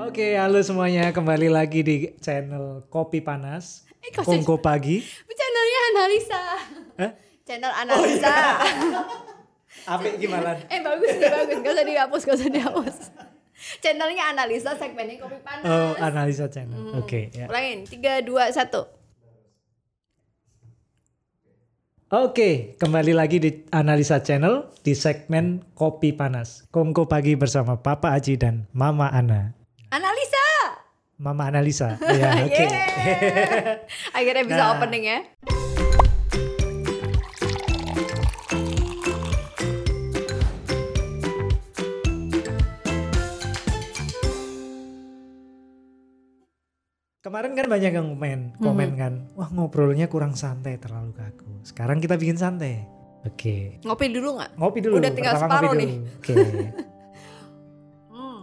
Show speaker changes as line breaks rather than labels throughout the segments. Oke, halo semuanya. Kembali lagi di channel Kopi Panas.
Eh, kok
Kongko Pagi.
Channelnya analisa.
Hah?
Channel
Oh,
analisa.
iya. Apik gimana?
eh bagus nih bagus. Gak usah dihapus, gak usah dihapus. Channelnya analisa, segmennya kopi panas.
Oh, analisa channel.
Hmm.
Oke, ya.
Ulangin, tiga dua satu.
Oke, kembali lagi di analisa channel di segmen Kopi Panas. Kongko Pagi bersama Papa Aji dan Mama Ana.
Analisa.
Mama analisa. Ya, oke.
Yeay. Akhirnya bisa
Nah.
opening ya.
Kemarin kan banyak yang komen, komen
Hmm.
kan, wah ngobrolnya kurang santai, terlalu kaku. Sekarang kita bikin santai. Oke.
Ngopi dulu nggak?
Ngopi dulu.
Udah tinggal
pertama
separuh
ngopi
nih.
dulu. Oke.
Hmm.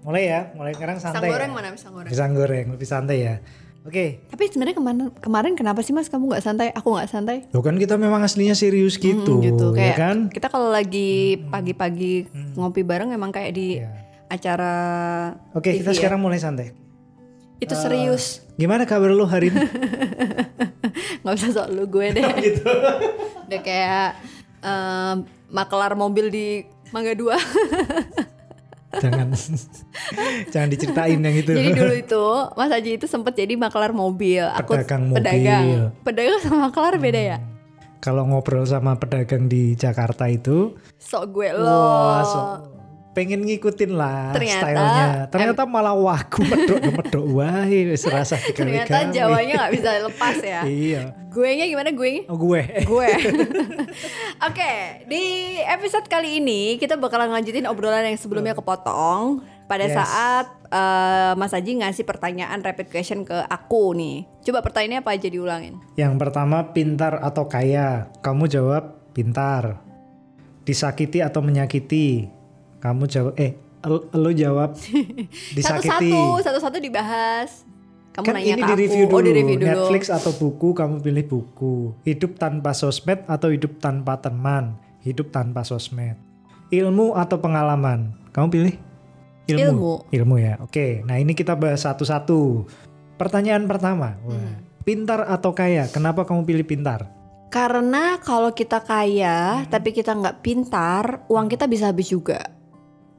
mulai ya, mulai sekarang
Pisang
santai. ya.
goreng mana pisang goreng?
Pisang goreng, lebih santai ya. Oke.
Tapi sebenarnya kemarin kemarin kenapa sih mas kamu nggak santai? Aku nggak santai.
Loh kan kita memang aslinya serius gitu,
Mm,
ya
Kayak
kan?
Kita kalau lagi pagi-pagi ngopi bareng emang kayak di
Hmm. Iya.
acara.
Oke, kita
TV ya.
sekarang mulai santai.
Itu serius.
Gimana kabar lu hari ini?
nggak usah soal lu gue
Oh,
deh
gitu.
udah kayak em, makelar mobil di Mangga Dua
jangan jangan diceritain yang itu.
jadi dulu itu Mas Aji itu sempet jadi makelar mobil aku
Pedagang mobil.
pedagang pedagang sama makelar beda ya
Kalau ngobrol sama pedagang di Jakarta itu,
sok gue lo
wah, so, pengen ngikutin lah
Ternyata-
stylenya. Ternyata malah waku medok medok wae wis rasa digawe-gawe.
ternyata Jawanya nggak bisa lepas ya
Iya.
gue nya gimana gue
Oh, gue.
gue oke di episode kali ini kita bakalan lanjutin obrolan yang sebelumnya kepotong pada
Yes.
saat eh, Mas Aji ngasih pertanyaan rapid question ke aku nih coba pertanyaannya apa aja diulangin
Yang pertama pintar atau kaya? Kamu jawab pintar. Disakiti atau menyakiti? Kamu jawab eh el- lo jawab disakiti.
satu-satu satu-satu dibahas kamu
Kan
nanya
ini
ke
di
aku
review dulu.
oh di review dulu
Netflix atau buku kamu pilih buku. Hidup tanpa sosmed atau hidup tanpa teman? Hidup tanpa sosmed. Ilmu atau pengalaman? Kamu pilih
Ilmu.
Ilmu, ya. Oke. Nah, ini kita bahas satu-satu. Pertanyaan pertama. Wah,
Hmm.
Pintar atau kaya? Kenapa kamu pilih pintar?
karena kalau kita kaya tapi kita nggak pintar uang kita bisa habis juga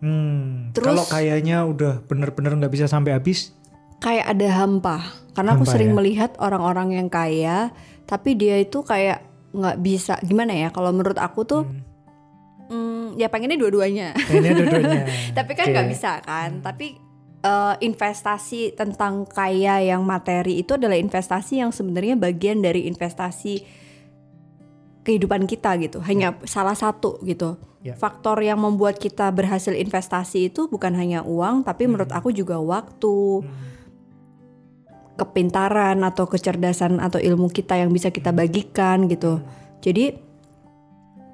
Hmm,
Terus-
kalau kayaknya udah bener-bener nggak bisa sampai habis,
kayak ada hampa karena aku
Hampa,
sering
ya?
melihat orang-orang yang kaya tapi dia itu kayak nggak bisa gimana ya kalau menurut aku tuh mm, ya pengennya dua-duanya
hmm, kayaknya dua-duanya.
tapi kan
Hmm. Oke.
nggak bisa kan tapi eh, investasi tentang kaya yang materi itu adalah investasi yang sebenarnya bagian dari investasi kehidupan kita gitu hanya salah satu gitu
Ya.
faktor yang membuat kita berhasil investasi itu bukan hanya uang tapi menurut aku juga waktu
Hmm,
kepintaran atau kecerdasan atau ilmu kita yang bisa kita bagikan gitu. Jadi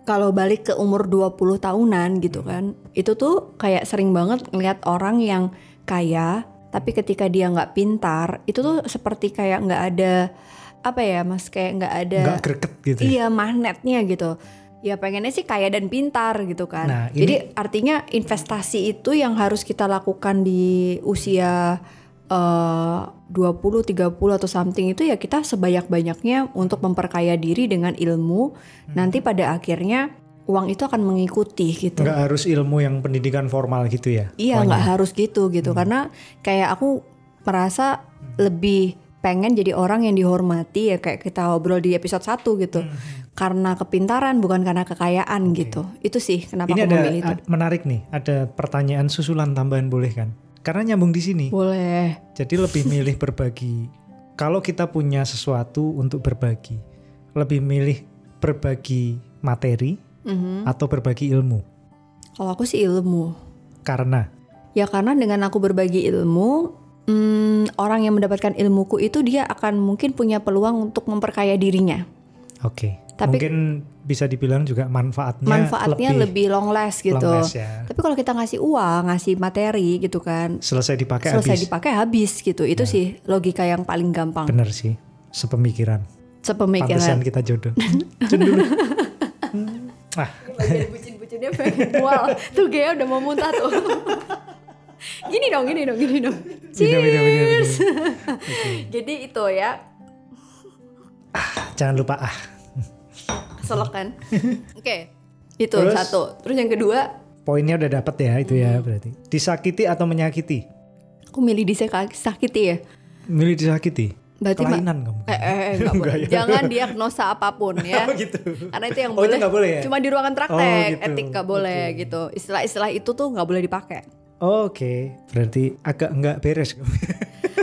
kalau balik ke umur 20 tahunan gitu kan, itu tuh kayak sering banget ngeliat orang yang kaya tapi ketika dia nggak pintar, itu tuh seperti kayak nggak ada apa ya Mas kayak nggak ada
nggak greget gitu. ya.
iya magnetnya gitu. Ya pengennya sih kaya dan pintar gitu kan.
Nah, ini-
Jadi artinya investasi itu yang harus kita lakukan di usia eh 20, 30 atau something itu ya kita sebanyak-banyaknya untuk memperkaya diri dengan ilmu.
Hmm.
Nanti pada akhirnya uang itu akan mengikuti gitu.
Nggak harus ilmu yang pendidikan formal gitu ya.
Iya
pokoknya.
nggak harus gitu gitu
Hmm.
karena kayak aku merasa lebih pengen jadi orang yang dihormati ya kayak kita obrol di episode 1 gitu
Hmm,
karena kepintaran bukan karena kekayaan gitu itu sih kenapa
Ini
aku
ada
memilih itu
ad- menarik nih, ada pertanyaan susulan tambahan boleh kan? Karena nyambung di sini.
boleh
Jadi lebih milih berbagi. Kalau kita punya sesuatu untuk berbagi, lebih milih berbagi materi
Mhm.
atau berbagi ilmu.
kalau aku sih ilmu
Karena
ya karena dengan aku berbagi ilmu hmm, orang yang mendapatkan ilmuku itu dia akan mungkin punya peluang untuk memperkaya dirinya
Oke.
Tapi-
Mungkin bisa dibilang juga manfaatnya, Ya,
manfaatnya
lebih,
lebih, long last gitu
long last ya.
tapi kalau kita ngasih uang ngasih materi gitu kan
Selesai dipakai
selesai
habis. Ya.
dipakai habis gitu. Itu sih logika yang paling gampang.
Bener sih. Sepemikiran. Pantesan
Sepemikiran.
kita jodoh. Cun dulu. Hmm. Ah,
Bagian bucin-bucinnya pengen mual. Tuh Gea udah mau muntah tuh. gini dong, gini dong, gini dong.
Minum, minum, minum, minum.
Cheers. Jadi itu ya,
Jangan lupa ah.
keselak kan. Oke. Itu
Terus?
satu. Terus yang kedua,
Poinnya udah dapet ya itu
Hmm.
ya berarti. Disakiti atau menyakiti?
aku milih disakiti ya.
Milih disakiti.
Berarti ma-
Kelainan kamu.
Eh, eh, eh, nggak
Enggak
boleh.
ya?
Jangan diagnosa apapun ya.
Oh, gitu.
Karena itu yang
Oh, itu
boleh,
nggak boleh ya?
cuma di ruangan praktek,
Oh, gitu.
etik nggak boleh
Oke.
gitu. Istilah-istilah itu tuh nggak boleh dipakai.
Oke, berarti agak enggak beres kamu.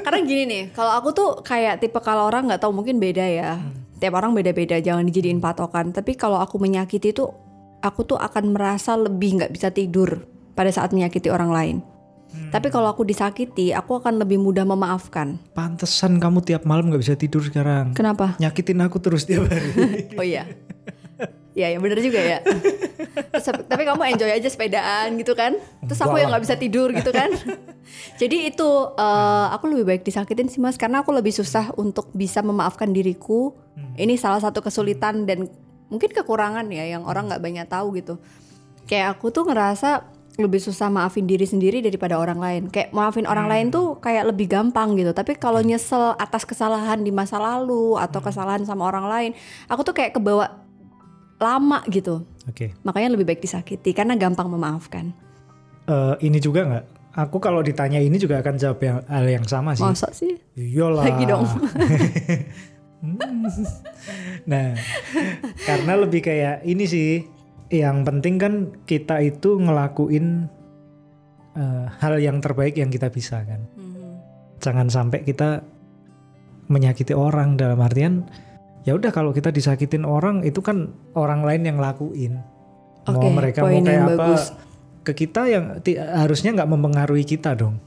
Karena gini nih, kalau aku tuh kayak tipe kalau orang nggak tahu mungkin beda ya. Tiap orang beda-beda, jangan dijadiin patokan. Tapi kalau aku menyakiti tuh, aku tuh akan merasa lebih nggak bisa tidur pada saat menyakiti orang lain. Tapi kalau aku disakiti, aku akan lebih mudah memaafkan.
Pantesan kamu tiap malam nggak bisa tidur sekarang.
Kenapa?
Nyakitin aku terus tiap hari.
Oh iya. Iya ya bener juga ya. Terus, tapi- tapi kamu enjoy aja sepedaan gitu kan. Terus
Enggak
aku yang
lah.
nggak bisa tidur gitu kan. Jadi itu eh, aku lebih baik disakitin sih mas karena aku lebih susah untuk bisa memaafkan diriku.
Hmm.
Ini salah satu kesulitan dan mungkin kekurangan ya yang orang nggak banyak tahu gitu. Kayak aku tuh ngerasa lebih susah maafin diri sendiri daripada orang lain. Kayak maafin orang lain
Hmm.
tuh kayak lebih gampang gitu. Tapi kalau nyesel atas kesalahan di masa lalu atau
Hmm.
kesalahan sama orang lain, aku tuh kayak kebawa lama gitu.
Oke.
Makanya lebih baik disakiti karena gampang memaafkan.
Eh, ini juga nggak? Aku kalau ditanya ini juga akan jawab yang, hal yang sama sih.
Masa sih?
Yolah.
Lagi dong.
Hmm. nah, karena lebih kayak ini sih. Yang penting kan kita itu ngelakuin eh, hal yang terbaik yang kita bisa kan. Jangan sampai kita menyakiti orang dalam artian ya udah kalau kita disakitin orang itu kan orang lain yang lakuin.
Oke,
mau mereka mau
poin yang
kayak apa
bagus.
ke kita yang ti- harusnya nggak mempengaruhi kita dong.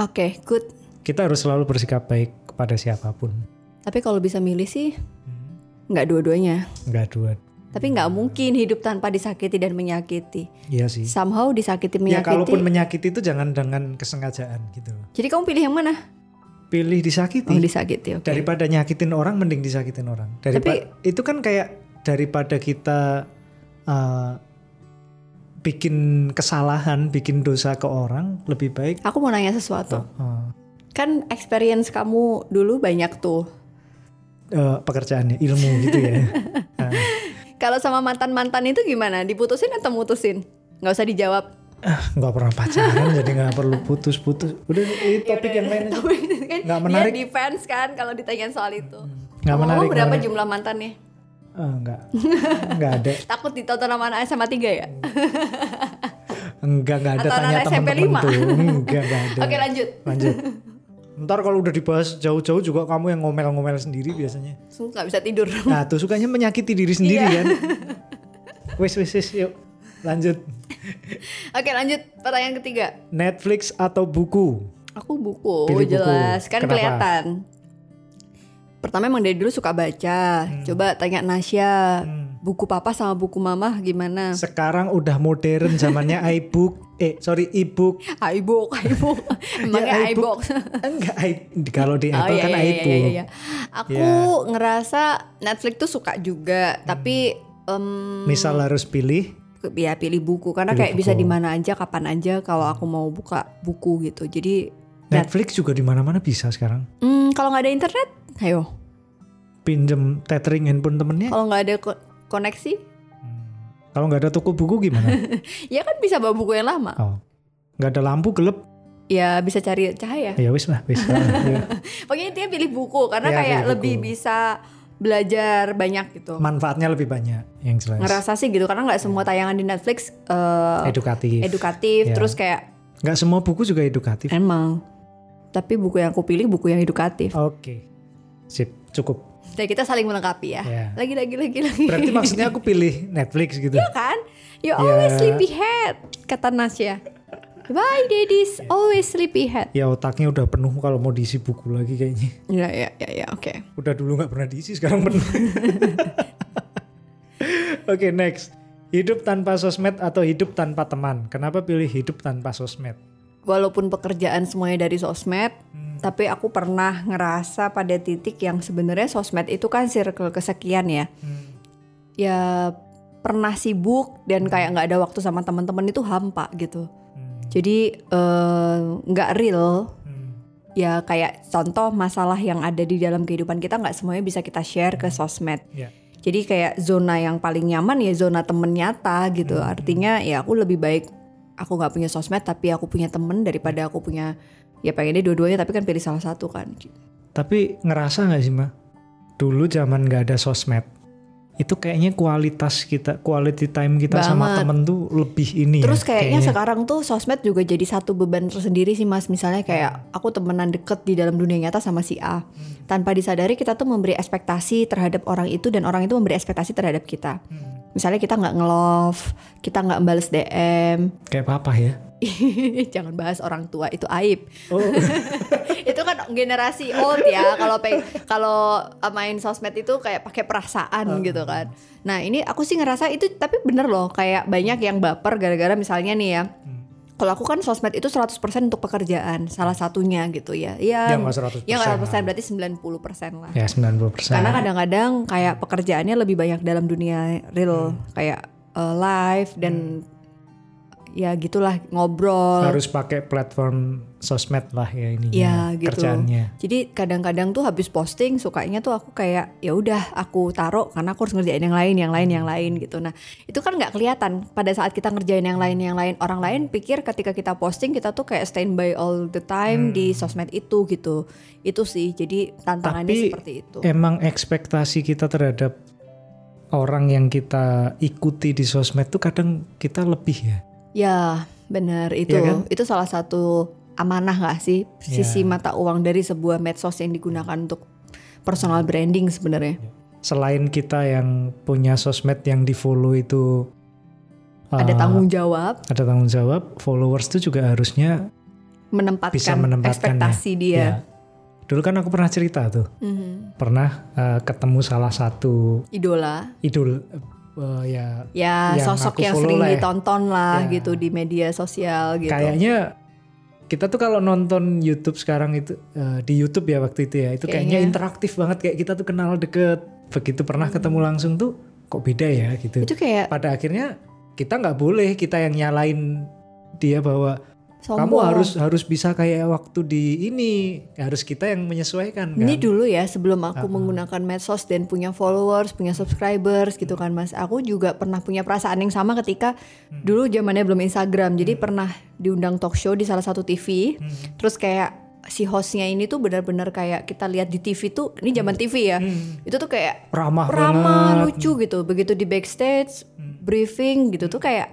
Oke, good.
Kita harus selalu bersikap baik kepada siapapun.
Tapi kalau bisa milih sih nggak dua-duanya.
Nggak dua.
Tapi nggak mungkin hidup tanpa disakiti dan menyakiti.
Iya sih.
Somehow disakiti
Ya kalaupun menyakiti
menyakiti.
itu jangan dengan kesengajaan gitu.
Jadi kamu pilih yang mana?
Pilih
Oh,
disakiti
disakiti. Oke.
daripada nyakitin orang mending disakitin orang. Daripada itu kan kayak daripada kita eh, bikin kesalahan, bikin dosa ke orang lebih baik
Aku mau nanya sesuatu.
eh,
Kan experience kamu dulu banyak tuh.
eh, pekerjaannya ilmu gitu ya.
Kalau sama mantan-mantan itu gimana? Diputusin atau mutusin? Nggak usah dijawab.
Ah, nggak pernah pacaran jadi nggak perlu putus-putus. Udah ini
Iya,
topik yang lain aja.
kan
Nggak menarik. Hmm.
Dia defense kan kalau ditanyain soal itu.
Nggak
Ngomong-ngomong
menarik. nggak
berapa
menarik.
jumlah mantannya?
Ah, nggak. Nggak ada.
Takut ditonton sama anak SMA 3 ya?
Hmm, Enggak, enggak ada
Atau
tanya
anak SMP
teman-teman
lima.
tuh. Enggak, enggak ada.
Oke lanjut.
Lanjut. Ntar kalau udah dibahas jauh-jauh juga kamu yang ngomel-ngomel sendiri biasanya.
Sungguh gak bisa tidur.
Nah, tuh sukanya menyakiti diri sendiri
Iya.
kan. Wis, wis, wis, yuk. Lanjut.
Oke lanjut pertanyaan ketiga.
Netflix atau buku?
Aku buku
Pilih buku.
jelas kan
Kenapa?
kelihatan. Pertama emang dari dulu suka baca. Coba tanya Nasya,
Hmm.
buku papa sama buku mama gimana?
Sekarang udah modern zamannya iBook. Eh, sorry, e-book.
iBook, iBook. Emangnya
Ya, iBook.
iBook.
Enggak, i- kalau di Apple kan
iya,
iBook.
iya, iya. Aku
Ya.
ngerasa Netflix tuh suka juga, tapi em,
Misal harus pilih,
ke- ya pilih buku karena
Pilih
kayak bisa
buku.
di mana aja, kapan aja kalau aku mau buka buku gitu. Jadi
Netflix juga di mana-mana bisa sekarang.
hmm, kalau nggak ada internet, ayo.
Pinjem tethering handphone temennya.
Kalau nggak ada ko- koneksi,
Hmm. Kalau nggak ada toko buku gimana?
ya kan bisa bawa buku yang lama.
Oh. Nggak ada lampu gelap
Ya bisa cari cahaya.
ya wis lah wis lah. Ya.
Pokoknya dia pilih buku
Ya,
karena kayak
pilih
lebih
buku.
bisa belajar banyak gitu.
manfaatnya lebih banyak yang jelas
Ngerasa sih gitu karena nggak semua tayangan di Netflix eh,
edukatif Ya.
edukatif, terus kayak
nggak semua buku juga edukatif
Emang. Tapi buku yang aku pilih buku yang edukatif.
oke sip cukup
Jadi kita saling melengkapi ya.
ya
Lagi lagi lagi lagi.
berarti maksudnya aku pilih Netflix gitu
kan? You always
Ya.
sleepyhead, kata Nasya. Why daddies always sleepyhead?
ya otaknya udah penuh kalau mau diisi buku lagi kayaknya
Ya ya ya ya, oke.
udah dulu nggak pernah diisi sekarang penuh oke next hidup tanpa sosmed atau hidup tanpa teman kenapa pilih hidup tanpa sosmed
Walaupun pekerjaan semuanya dari sosmed,
Hmm.
tapi aku pernah ngerasa pada titik yang sebenarnya sosmed itu kan circle kesekian ya.
Hmm,
Ya pernah sibuk dan kayak nggak ada waktu sama teman-teman itu hampa gitu.
Hmm.
Jadi eh, nggak real
Hmm.
ya kayak contoh masalah yang ada di dalam kehidupan kita nggak semuanya bisa kita share ke sosmed.
Iya.
Jadi kayak zona yang paling nyaman ya zona temen nyata gitu.
Hmm.
Artinya ya aku lebih baik aku nggak punya sosmed tapi aku punya temen daripada aku punya ya pengennya dua-duanya tapi kan pilih salah satu kan.
Tapi ngerasa nggak sih ma? Dulu zaman nggak ada sosmed, itu kayaknya kualitas kita, quality time kita sama
Banget.
temen tuh lebih ini. ya,
Terus kayaknya, sekarang tuh sosmed juga jadi satu beban tersendiri sih mas. Misalnya kayak aku temenan deket di dalam dunia nyata sama si A. Tanpa disadari kita tuh memberi ekspektasi terhadap orang itu dan orang itu memberi ekspektasi terhadap kita.
Hmm.
Misalnya kita nggak nge-love, kita nggak bales DM.
kayak papa ya.
Jangan bahas orang tua itu aib.
Oh,
itu kan generasi old ya kalau pe- kalau eh, main sosmed itu kayak pakai perasaan gitu kan nah ini aku sih ngerasa itu tapi bener loh kayak banyak yang baper gara-gara misalnya nih ya kalau aku kan sosmed itu 100% untuk pekerjaan salah satunya gitu ya ya
ya ah. nggak 100%.
ya nggak 100% berarti 90% lah
Ya 90
karena kan kadang-kadang kayak pekerjaannya lebih banyak dalam dunia real kayak eh, live dan ya gitulah ngobrol
harus pakai platform sosmed lah ya ini.
Ya, gitu.
Kerjaannya.
Jadi kadang-kadang tuh habis posting sukanya tuh aku kayak ya udah aku taruh karena aku harus ngerjain yang lain, yang lain, yang lain gitu. Nah itu kan nggak kelihatan pada saat kita ngerjain yang lain, yang lain. Orang lain pikir ketika kita posting kita tuh kayak standby all the time
Hmm.
di sosmed itu gitu. Itu sih jadi tantangannya
Tapi, ya.
seperti itu.
Emang ekspektasi kita terhadap orang yang kita ikuti di sosmed tuh kadang kita lebih ya.
Ya benar itu
Iya kan?
itu salah satu amanah nggak sih
Iya.
sisi mata uang dari sebuah medsos yang digunakan untuk personal branding sebenarnya.
Selain kita yang punya sosmed yang di follow itu eh,
Ada tanggung jawab.
ada tanggung jawab followers tuh juga harusnya
menempatkan,
Bisa menempatkan
ekspektasi dia.
ya dulu kan aku pernah cerita tuh
Mhm.
pernah eh, ketemu salah satu
Idola,
idol eh, ya Yang
ya
aku
sosok yang
follow
sering
lah ya.
ditonton lah
Ya.
gitu di media sosial gitu.
kayaknya kita tuh kalau nonton YouTube sekarang itu eh, di YouTube ya waktu itu ya itu kayaknya,
Kayaknya. Hmm.
interaktif banget kayak kita tuh kenal deket begitu pernah ketemu langsung tuh kok beda ya gitu
Itu kayak
pada akhirnya kita nggak boleh kita yang nyalain dia bahwa kamu
sombong.
harus harus bisa kayak waktu di ini harus kita yang menyesuaikan kan
ini dulu ya sebelum aku
Ah.
menggunakan medsos dan punya followers, punya subscribers gitu kan Mas. Aku juga pernah punya perasaan yang sama ketika
Hmm.
dulu zamannya belum Instagram. Jadi pernah diundang talk show di salah satu TV.
Hmm.
Terus kayak si hostnya ini tuh benar-benar kayak kita lihat di TV tuh ini zaman TV ya.
Hmm.
Itu tuh kayak
ramah
ramah
banget
lucu gitu begitu di backstage
Hmm.
briefing gitu tuh kayak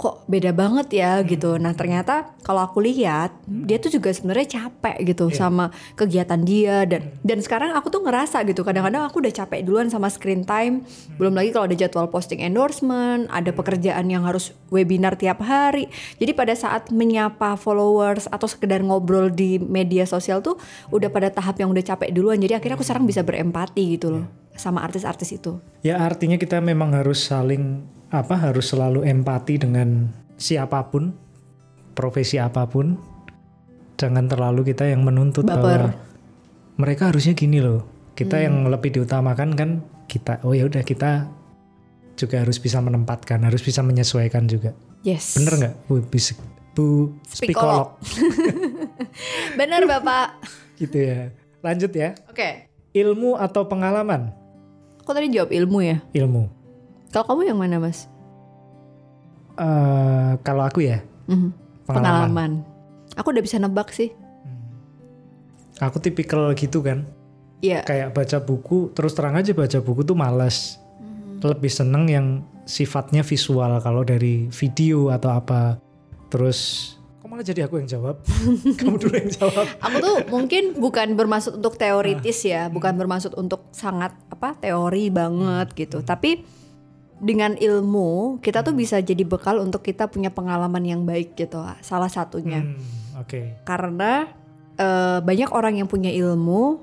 kok beda banget ya gitu nah ternyata kalau aku lihat dia tuh juga sebenarnya capek
Hmm.
gitu
Iya. Hmm.
sama kegiatan dia dan dan sekarang aku tuh ngerasa gitu kadang-kadang aku udah capek duluan sama screen time
Hmm.
belum lagi kalau ada jadwal posting endorsement ada pekerjaan yang harus webinar tiap hari jadi pada saat menyapa followers atau sekedar ngobrol di media sosial tuh
Hmm.
udah pada tahap yang udah capek duluan jadi akhirnya aku sekarang bisa berempati gitu loh
Iya.
sama artis-artis itu
ya artinya kita memang harus saling apa harus selalu empati dengan siapapun profesi apapun jangan terlalu kita yang menuntut bahwa
Baper.
mereka harusnya gini loh kita yang
Hmm.
lebih diutamakan kan kita oh ya udah kita juga harus bisa menempatkan harus bisa menyesuaikan juga
yes
bener nggak bu bis, bu psikolog
Spikolog. bener bapak
gitu ya lanjut ya
oke
ilmu atau pengalaman
aku tadi jawab ilmu ya
ilmu
kalau kamu yang mana mas
Eh, kalau aku ya
Mhm.
pengalaman.
aku udah bisa nebak sih
Hmm. Aku tipikal gitu kan,
Iya
kayak baca buku terus terang aja baca buku tuh males.
Mhm.
Lebih seneng yang sifatnya visual kalau dari video atau apa. Terus kok malah jadi aku yang jawab? Kamu dulu yang jawab.
aku tuh mungkin bukan bermaksud untuk teoritis ya bukan bermaksud untuk sangat apa teori banget gitu tapi dengan ilmu kita tuh bisa jadi bekal untuk kita punya pengalaman yang baik gitu salah satunya
Hmm, Oke.
karena eh, banyak orang yang punya ilmu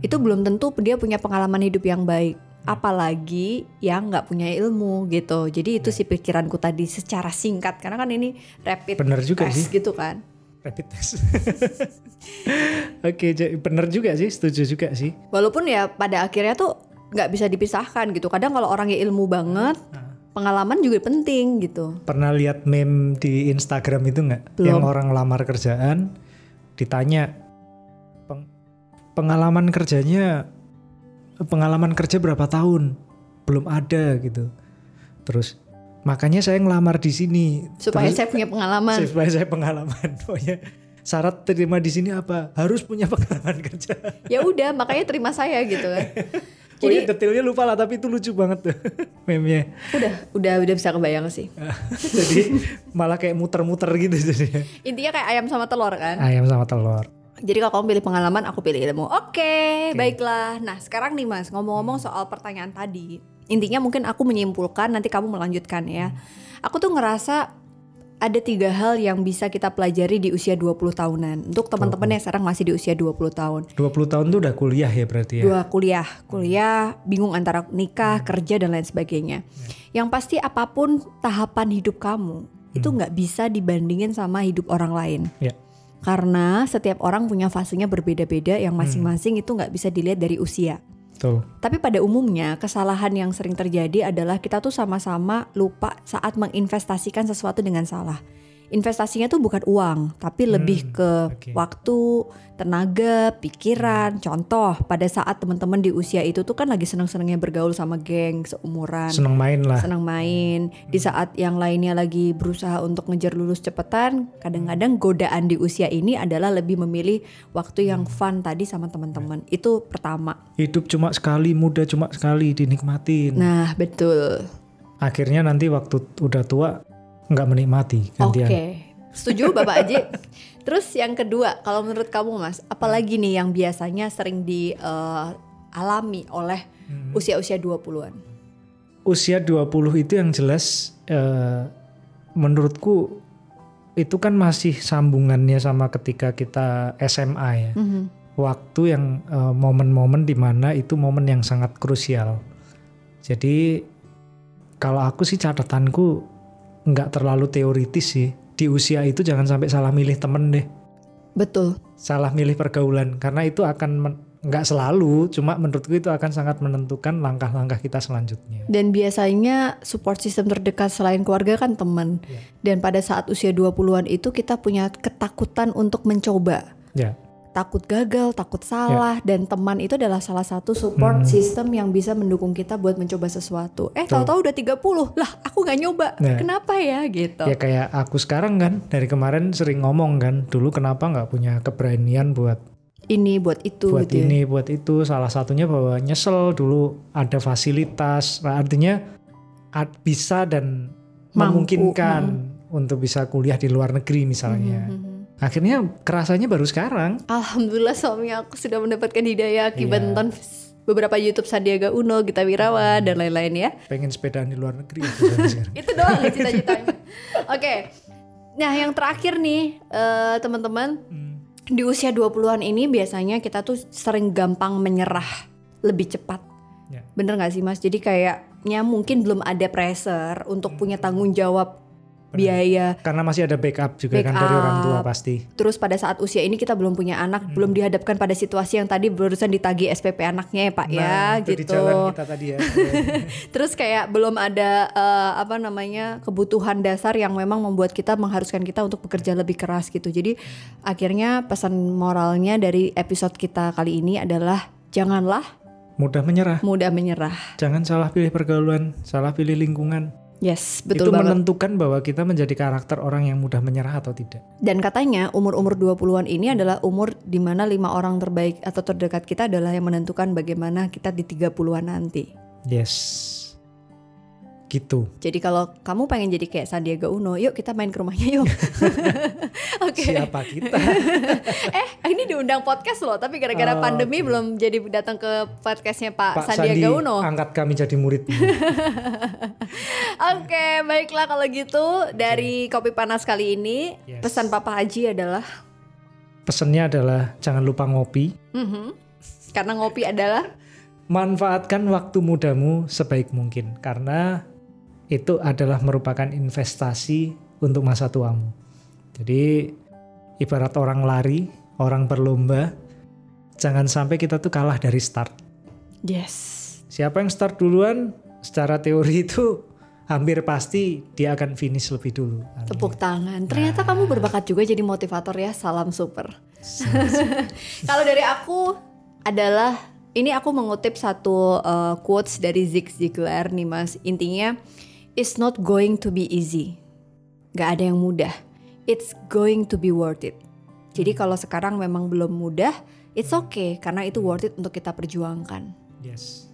itu belum tentu dia punya pengalaman hidup yang baik
Hmm.
apalagi yang nggak punya ilmu gitu jadi itu
Ya.
sih pikiranku tadi secara singkat karena kan ini rapid
Bener juga
test
sih
gitu kan
rapid test. Oke, jadi bener juga sih, setuju juga sih.
walaupun ya pada akhirnya tuh nggak bisa dipisahkan gitu kadang kalau orangnya ilmu banget
Ah.
pengalaman juga penting gitu.
Pernah lihat meme di Instagram itu nggak?
Belum.
Yang orang lamar kerjaan ditanya "Peng- pengalaman kerjanya pengalaman kerja berapa tahun? Belum ada gitu. Terus makanya saya ngelamar di sini
Supaya
Terus-
saya punya pengalaman.
supaya saya pengalaman. Pokoknya syarat terima di sini apa? Harus punya pengalaman kerja.
Ya udah, makanya terima saya gitu kan.
Jadi
Jadi
detailnya lupa lah tapi itu lucu banget tuh meme-nya.
udah, udah udah bisa kebayang sih.
Eh. jadi malah kayak muter-muter gitu jadinya.
Intinya kayak ayam sama telur kan.
Ayam sama telur.
Jadi kalau kamu pilih pengalaman, aku pilih ilmu. Oke, baiklah. Nah, sekarang nih Mas, ngomong-ngomong soal pertanyaan tadi. Intinya mungkin aku menyimpulkan, nanti kamu melanjutkan ya. Aku tuh ngerasa ada tiga hal yang bisa kita pelajari di usia 20 tahunan. Untuk teman-teman yang sekarang masih di usia 20 tahun.
20 tahun tuh udah kuliah ya berarti ya.
Dua kuliah, kuliah bingung antara nikah, kerja dan lain sebagainya. Yang pasti apapun tahapan hidup kamu itu nggak bisa dibandingin sama hidup orang lain.
Ya.
Karena setiap orang punya fasenya berbeda-beda yang masing-masing itu nggak bisa dilihat dari usia.
Betul.
Tapi pada umumnya kesalahan yang sering terjadi adalah kita tuh sama-sama lupa saat menginvestasikan sesuatu dengan salah. Investasinya tuh bukan uang, tapi lebih ke
Hmm, oke. Hmm.
waktu, tenaga, pikiran. Contoh, pada saat teman-teman di usia itu tuh kan lagi seneng-senengnya bergaul sama geng seumuran,
Seneng main lah.
senang main. Di saat yang lainnya lagi berusaha untuk ngejar lulus cepetan, kadang-kadang godaan di usia ini adalah lebih memilih waktu
Hmm.
yang fun tadi sama teman-teman.
Iya.
Itu pertama.
Hidup cuma sekali, muda cuma sekali dinikmatin.
Nah, betul.
Akhirnya nanti waktu t- udah tua nggak menikmati
Oke.
gantian.
Setuju Bapak Aji? Terus yang kedua, kalau menurut kamu Mas, apalagi nih yang biasanya sering dialami oleh
Hmm.
usia-usia 20-an?
Usia 20 itu yang jelas eh, menurutku itu kan masih sambungannya sama ketika kita SMA ya.
Mhm.
waktu yang eh, momen-momen dimana itu momen yang sangat krusial. Jadi kalau aku sih catatanku nggak terlalu teoritis sih. Di usia itu jangan sampai salah milih temen deh,
Betul.
salah milih pergaulan karena itu akan men- nggak selalu, cuma menurutku itu akan sangat menentukan langkah-langkah kita selanjutnya.
Dan biasanya support system terdekat selain keluarga kan teman.
Iya.
Dan pada saat usia 20-an itu kita punya ketakutan untuk mencoba.
Ya.
Takut gagal, takut salah dan teman itu adalah salah satu support
Hmm.
system yang bisa mendukung kita buat mencoba sesuatu. Eh,
Betul.
tahu-tahu udah 30. Lah, aku nggak nyoba.
Nah.
Kenapa ya gitu.
Ya kayak aku sekarang kan dari kemarin sering ngomong kan, dulu kenapa nggak punya keberanian buat
Ini buat itu
buat
gitu. ya.
ini buat itu salah satunya bahwa nyesel dulu ada fasilitas Nah, artinya ad- bisa dan
Mampu,
memungkinkan untuk bisa kuliah di luar negeri misalnya
Mhm.
akhirnya kerasanya baru sekarang
Alhamdulillah suami aku sudah mendapatkan hidayah akibat
Iya.
nonton beberapa YouTube Sandiaga Uno, Gita
Hmm.
Wirawan dan lain-lain ya.
pengen sepedaan di luar negeri itu kan sekarang.
itu doang cita-citanya. Oke. Nah, yang terakhir nih eh, teman-teman,
Hmm,
di usia 20-an ini biasanya kita tuh sering gampang menyerah lebih cepat.
Ya.
Bener gak sih Mas? Jadi kayaknya mungkin belum ada pressure untuk punya tanggung jawab
Hmm. Bener.
biaya.
karena masih ada backup juga kan dari
Backup.
orang tua pasti
Terus pada saat usia ini kita belum punya anak,
Hmm.
belum dihadapkan pada situasi yang tadi barusan ditagi SPP anaknya ya Pak
Nah,
ya
itu
gitu.
di jalan kita tadi ya
Terus kayak belum ada eh, apa namanya kebutuhan dasar yang memang membuat kita mengharuskan kita untuk bekerja lebih keras gitu. Jadi akhirnya pesan moralnya dari episode kita kali ini adalah janganlah
mudah menyerah
mudah menyerah.
jangan salah pilih pergaulan salah pilih lingkungan
Yes, betul
itu
banget.
menentukan bahwa kita menjadi karakter orang yang mudah menyerah atau tidak
Dan katanya umur-umur 20-an ini adalah umur di mana lima orang terbaik atau terdekat kita adalah yang menentukan bagaimana kita di 30-an nanti.
Yes. Gitu.
Jadi kalau kamu pengen jadi kayak Sandiaga Uno, yuk kita main ke rumahnya yuk. Oke.
Siapa kita?
eh ini diundang podcast loh tapi
Oh,
gara-gara pandemi
oke.
belum jadi datang ke podcastnya Pak,
Pak
Sandiaga
Sandi, Ah.
Uno. Oke
angkat kami jadi murid.
baiklah kalau gitu dari kopi panas kali ini
Yes.
pesan Papa Haji adalah
Pesannya adalah jangan lupa ngopi.
Mhm. karena ngopi adalah
Manfaatkan waktu mudamu sebaik mungkin karena itu adalah merupakan investasi untuk masa tuamu. Jadi ibarat orang lari, orang berlomba, jangan sampai kita tuh kalah dari start.
yes
Siapa yang start duluan secara teori itu hampir pasti dia akan finish lebih dulu.
Tepuk tangan. Ternyata kamu berbakat juga jadi motivator ya. Salam super. Kalau dari aku adalah ini aku mengutip satu uh, quotes dari Zig Ziglar nih Mas. Intinya it's not going to be easy. Gak ada yang mudah. It's going to be worth it.
Hmm.
Jadi kalau sekarang memang belum mudah, it's okay karena itu worth it untuk kita perjuangkan.
Yes.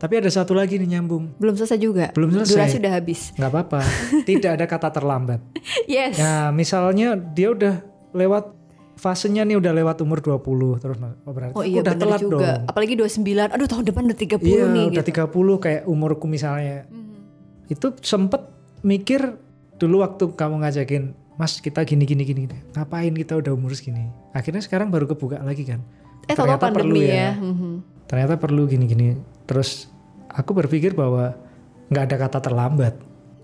Tapi ada satu lagi nih nyambung.
Belum selesai juga.
Belum selesai.
Durasi udah habis.
Nggak apa-apa. Tidak ada kata terlambat.
Yes.
Nah, misalnya dia udah lewat fasenya nih udah lewat umur 20 terus oh berarti
Oh iya
udah
bener
telat
juga.
dong.
Apalagi 29. Aduh tahun depan udah 30
Iya,
nih
udah
gitu.
30 kayak umurku misalnya.
Mhm.
Itu sempet mikir dulu waktu kamu ngajakin, "Mas, kita gini gini gini." gini. Ngapain kita udah umur segini? Akhirnya sekarang baru kebuka lagi kan.
Eh tahu
Ternyata perlu
pandemi
ya.
ya. Mhm.
Ternyata perlu gini-gini. Terus aku berpikir bahwa nggak ada kata terlambat.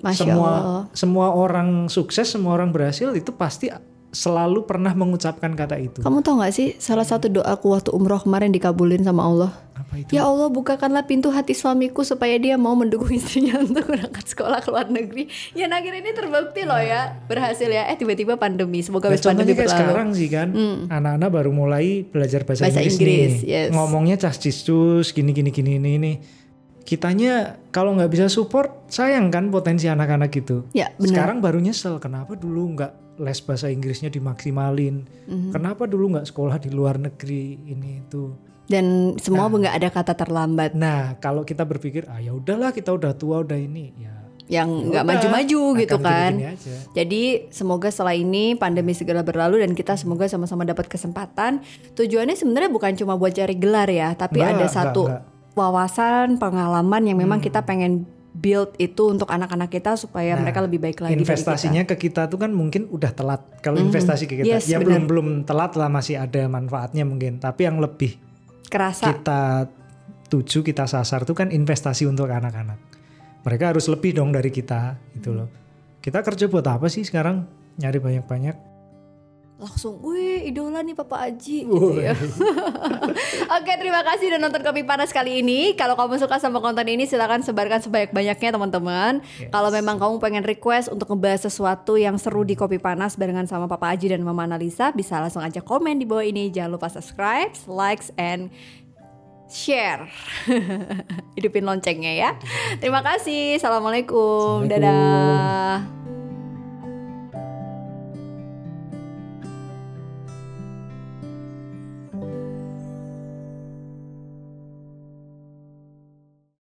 Masya
semua
Allah.
semua orang sukses, semua orang berhasil itu pasti selalu pernah mengucapkan kata itu.
Kamu tau gak sih salah satu doaku waktu umroh kemarin dikabulin sama Allah?
Apa itu?
Ya Allah bukakanlah pintu hati suamiku supaya dia mau mendukung istrinya untuk berangkat sekolah ke luar negeri. Ya nah, akhirnya ini terbukti loh ya berhasil ya. Eh tiba-tiba pandemi. Semoga
Nah,
habis
contohnya
pandemi
kayak
berlalu. Hmm.
sekarang sih kan, anak-anak baru mulai belajar bahasa,
Bahasa
Inggris,
Inggris,
nih.
yes.
Ngomongnya cas cistus, gini gini gini ini ini. Kitanya kalau nggak bisa support, sayang kan potensi anak-anak itu.
Ya benar.
Sekarang baru nyesel, kenapa dulu nggak les bahasa Inggrisnya dimaksimalin?
Mhm.
Kenapa dulu nggak sekolah di luar negeri ini itu?
Dan semua nggak ada kata terlambat
Nah, kalau kita berpikir, ah ya udahlah kita udah tua udah ini, ya
yang nggak
udah,
maju-maju
akan ya.
gitu kan.
gini-gini aja.
Jadi semoga setelah ini pandemi segera berlalu dan kita semoga sama-sama dapat kesempatan. Tujuannya sebenarnya bukan cuma buat cari gelar ya, tapi
Nggak,
ada
nggak,
satu
nggak.
wawasan, pengalaman yang memang
Hmm.
kita pengen build itu untuk anak-anak kita supaya
Nah,
mereka lebih baik lagi. dari kita. Mhm.
investasinya ke kita tuh kan mungkin udah telat kalau investasi ke kita
Yes,
ya belum
benar.
belum telat lah masih ada manfaatnya mungkin tapi yang lebih
kerasa.
kita tuju kita sasar tuh kan investasi untuk anak-anak mereka harus lebih dong dari kita gitu loh
Hmm.
kita kerja buat apa sih sekarang nyari banyak-banyak
langsung, wih idola nih Papa Aji gitu ya. Oke terima kasih udah nonton Kopi Panas kali ini. Kalau kamu suka sama konten ini silahkan sebarkan sebanyak-banyaknya teman-teman.
Yes.
Kalau memang kamu pengen request untuk ngebahas sesuatu yang seru di Kopi Panas barengan sama Papa Aji dan Mama Analisa bisa langsung aja komen di bawah ini. Jangan lupa subscribe, likes, and share. Hidupin loncengnya ya. Terima kasih.
Assalamualaikum.
Assalamualaikum. Dadah.